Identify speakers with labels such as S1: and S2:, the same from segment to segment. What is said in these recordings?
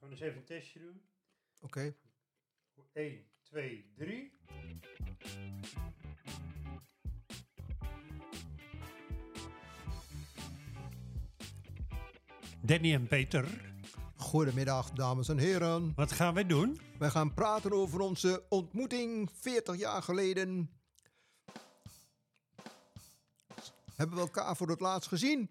S1: gaan eens even een testje doen.
S2: Oké.
S1: 1, 2, 3. Danny en Peter,
S2: Goedemiddag, dames en heren.
S1: wat gaan wij doen?
S2: Wij gaan praten over onze ontmoeting 40 jaar geleden. Hebben we elkaar voor het laatst gezien?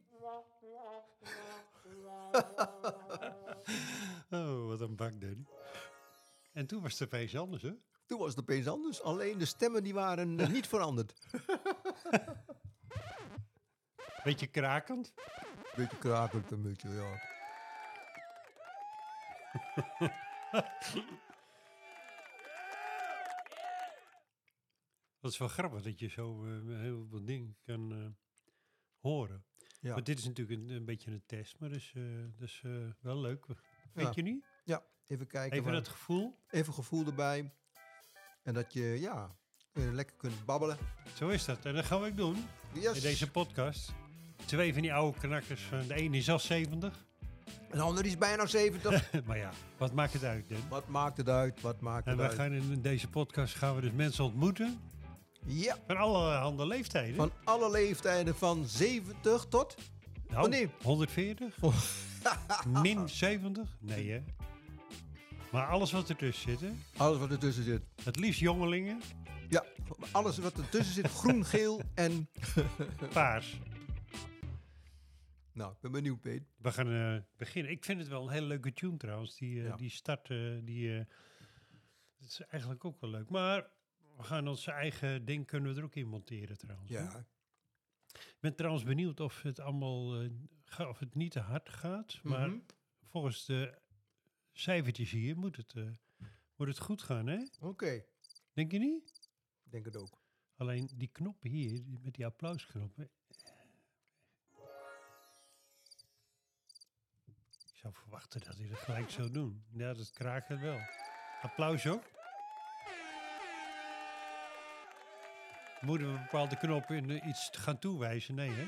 S1: Oh, wat een bak, Danny. En toen was het opeens anders, hè?
S2: Toen was het opeens anders. Alleen de stemmen die waren eh, niet veranderd.
S1: Beetje krakend.
S2: Beetje krakend een beetje, ja.
S1: Dat is wel grappig dat je zo eh, heel veel dingen kan eh, horen.
S2: Ja.
S1: Maar dit is natuurlijk een, een beetje een test, maar dat is, eh, dat is eh, wel leuk. Vind
S2: Ja.
S1: je niet?
S2: ja, even kijken.
S1: Even
S2: waar-
S1: het gevoel.
S2: even gevoel erbij. En dat je, ja, eh, lekker kunt babbelen.
S1: Zo is dat. En dat gaan we ook doen
S2: Yes.
S1: in deze podcast. Twee van die oude knakkers. van De ene is al 70.
S2: Een ander is bijna 70.
S1: maar ja, wat maakt het uit, Dan?
S2: Wat maakt het uit? Wat maakt
S1: En
S2: het
S1: we
S2: uit?
S1: gaan in deze podcast gaan we dus mensen ontmoeten
S2: Ja,
S1: van allerhande leeftijden.
S2: van alle leeftijden van 70 tot...
S1: nou,
S2: oh nee. Oh.
S1: 140? Min 70? Nee, hè? Maar alles wat ertussen zit, hè?
S2: Alles wat ertussen zit.
S1: Het liefst jongelingen,
S2: Ja, alles wat ertussen zit. Groen, geel en...
S1: paars.
S2: Nou, ik ben benieuwd, Peet.
S1: We gaan eh, beginnen. Ik vind het wel een hele leuke tune trouwens. Die, eh,
S2: Ja.
S1: die start, eh, die, eh, dat is eigenlijk ook wel leuk. Maar we gaan ons eigen ding kunnen we er ook in monteren trouwens. hè?
S2: Ja.
S1: Ik ben trouwens benieuwd of het allemaal, eh, ga- of het niet te hard gaat. Maar
S2: Mhm.
S1: volgens de cijfertjes hier moet het, eh, moet het goed gaan, hè?
S2: Oké,
S1: Denk je niet?
S2: ik denk het ook.
S1: Alleen die knoppen hier, die- met die applausknoppen. Ik zou verwachten dat hij dat gelijk zou doen. Ja, dat kraakt het wel. Applaus ook. Moeten we bepaalde knoppen in eh, iets gaan toewijzen? Nee, hè?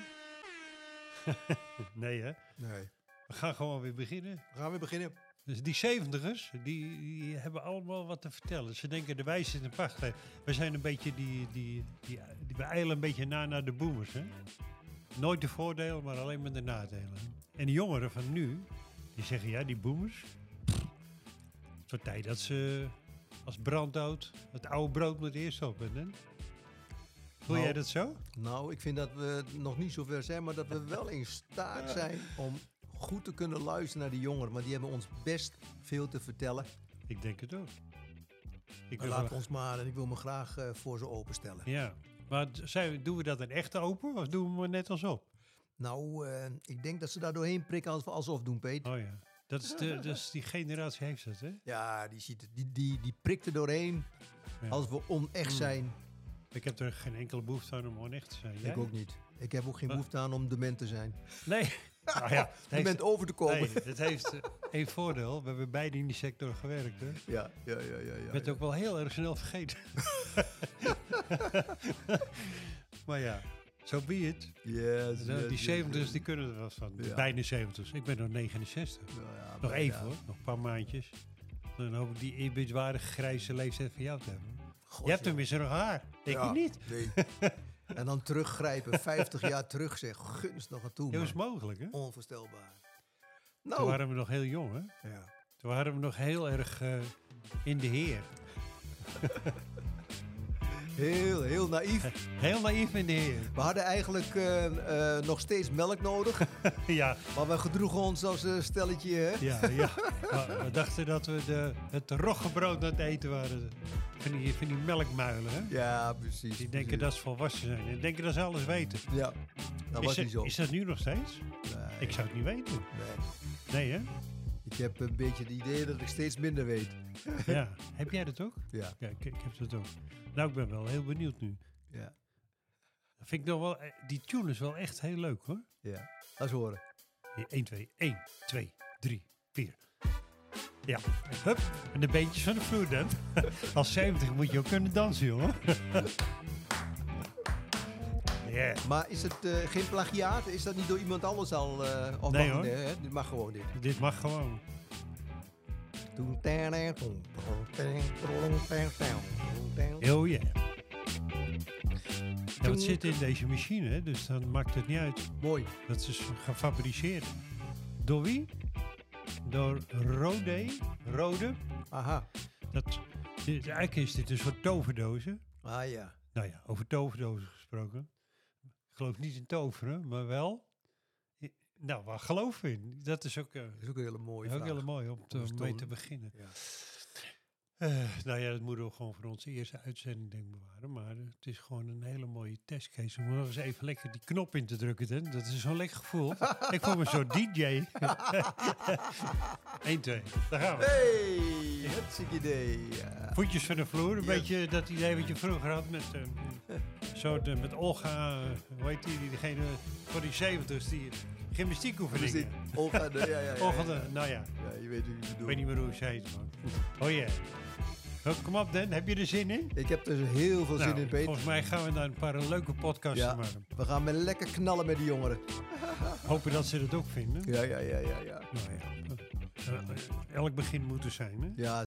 S1: nee, hè?
S2: Nee.
S1: We gaan gewoon weer beginnen.
S2: We gaan weer beginnen.
S1: Dus die zeventigers, die, die hebben allemaal wat te vertellen. Ze denken, de wijze in de pacht. We zijn een beetje die, die, die, die- we eilen een beetje na naar de boomers. Hè? Nooit de voordelen, maar alleen maar de nadelen. En de jongeren van nu, die zeggen, ja, die boomers. pff, Het wordt tijd dat ze als branddood het oude brood moet eerst op. hè? Voel
S2: Nou.
S1: jij dat zo?
S2: Nou, ik vind dat we nog niet zo ver zijn, maar dat we wel in staat zijn om goed te kunnen luisteren naar die jongeren. Want die hebben ons best veel te vertellen.
S1: Ik denk het ook. Ik
S2: Maar
S1: wil
S2: laat
S1: wel-
S2: ons maar en ik wil me graag eh, voor ze openstellen.
S1: Ja, maar d- zijn, doen we dat dan echt open of doen we het net als op?
S2: Nou, eh, ik denk dat ze daar doorheen prikken als- alsof doen, Peet.
S1: Oh ja, dat is, de, dat is die generatie heeft dat, hè?
S2: Ja, die, ziet het, die, die, die prikt er doorheen
S1: Ja.
S2: als we onecht zijn.
S1: Ik heb er geen enkele behoefte aan om onecht te zijn. Jij?
S2: Ik ook niet. Ik heb ook geen behoefte aan om dement te zijn.
S1: Nee. Nou ja, het
S2: Je
S1: heeft,
S2: bent over te komen.
S1: nee, het heeft eh, één voordeel. We hebben beide in die sector gewerkt, hè?
S2: Ja, ja, ja, ja.
S1: Ik
S2: ja,
S1: ben het ook wel heel erg snel vergeten. maar ja, zo be it.
S2: Yes,
S1: Nou,
S2: yes,
S1: die
S2: yes,
S1: 70's
S2: yes.
S1: die kunnen er wel van.
S2: Ja.
S1: Bijna 70's. Ik ben nog 69.
S2: Nou ja,
S1: Nog
S2: bijna.
S1: even hoor, nog een paar maandjes. Dan hoop ik die eerbiedwaardige grijze leeftijd van jou te hebben.
S2: God,
S1: Je hebt
S2: ja.
S1: tenminste nog haar. Ik
S2: Ja,
S1: niet.
S2: nee. en dan teruggrijpen, 50 jaar terug zeg. Gunst nog aan toe.
S1: Dat is
S2: man.
S1: mogelijk, hè?
S2: Onvoorstelbaar.
S1: Toen
S2: Nou,
S1: waren we nog heel jong, hè?
S2: ja.
S1: Toen waren we nog heel erg eh, in de heer.
S2: heel, heel naïef.
S1: Heel naïef in de heer.
S2: We hadden eigenlijk eh, eh, nog steeds melk nodig.
S1: ja,
S2: Maar we gedroegen ons als een stelletje. Hè?
S1: ja, ja. Maar we dachten dat we de, het roggebrood aan het eten waren. Van die, van die melkmuilen, hè?
S2: Ja, precies.
S1: Die denken dat ze volwassen zijn. En denken dat ze alles weten.
S2: Ja, dat
S1: is,
S2: was
S1: dat-
S2: niet zo.
S1: is dat nu nog steeds?
S2: Nee,
S1: Ik zou het niet weten.
S2: nee.
S1: Nee, hè?
S2: Ik heb een beetje het idee dat ik steeds minder weet.
S1: Ja. Heb jij dat ook?
S2: Ja,
S1: Ja, ik, ik heb dat ook. Nou, ik ben wel heel benieuwd nu.
S2: ja,
S1: Dat vind ik nog wel... eh, Die tune is wel echt heel leuk, hoor.
S2: ja. Laat eens horen.
S1: 1, 2, 1, 2, 3, 4. Ja, hup. En de beentjes van de vloer dan. Als 70 moet je ook kunnen dansen, jongen. Ja.
S2: Maar is het eh, geen plagiaat? Is dat niet door iemand anders al? eh, of
S1: Nee,
S2: mag
S1: hoor.
S2: Dit, hè? dit mag gewoon dit.
S1: Dit mag gewoon. Oh ja. Ja, het zit in deze machine, hè, dus dan maakt het niet uit.
S2: Mooi.
S1: Dat is dus gefabriceerd. Door wie? Door Rode. Rode.
S2: Aha.
S1: Dat, dit- eigenlijk is dit een soort toverdozen.
S2: Ah ja.
S1: Nou ja, over toverdozen gesproken. Ik geloof niet in toveren, maar wel. i- Nou, waar geloof ik in? Dat is ook, eh,
S2: Dat is ook een hele mooie
S1: ook
S2: vraag.
S1: heel mooi om, te-
S2: Dat is
S1: om
S2: dom,
S1: mee
S2: hè?
S1: te beginnen.
S2: Ja.
S1: Eh, nou ja, dat moeten we gewoon voor onze eerste uitzending denk ik bewaren. Maar eh, het is gewoon een hele mooie testcase. Om nog eens even lekker die knop in te drukken. Hè? Dat is zo'n lekker gevoel. ik voel me zo'n DJ. 1, 2, daar gaan we.
S2: Hey, hartstikke idee. Ja.
S1: Voetjes van de vloer. Een
S2: Ja.
S1: beetje dat idee wat je vroeger had met, eh, soort, eh, met Olga. eh, hoe heet die? Diegene voor die 70's. Die gymnastiek
S2: Dus dit-
S1: oefeningen.
S2: Olga de- ja, ja, ja, ja.
S1: Olga, de- nou ja.
S2: Ja, je weet wie ik
S1: Ik
S2: bedoel.
S1: weet niet meer hoe ze heet. Maar. Oh ja. Nou, Kom op Dan, heb je er zin in?
S2: Ik heb er heel veel zin
S1: Nou,
S2: in, Peter.
S1: Volgens mij gaan we daar een paar leuke podcasts
S2: Ja.
S1: van maken.
S2: We gaan met lekker knallen met die jongeren.
S1: Hopen dat ze dat ook vinden.
S2: Ja, ja, ja, ja, ja.
S1: Nou ja. eh, eh, Elk begin moet er zijn, hè?
S2: Ja,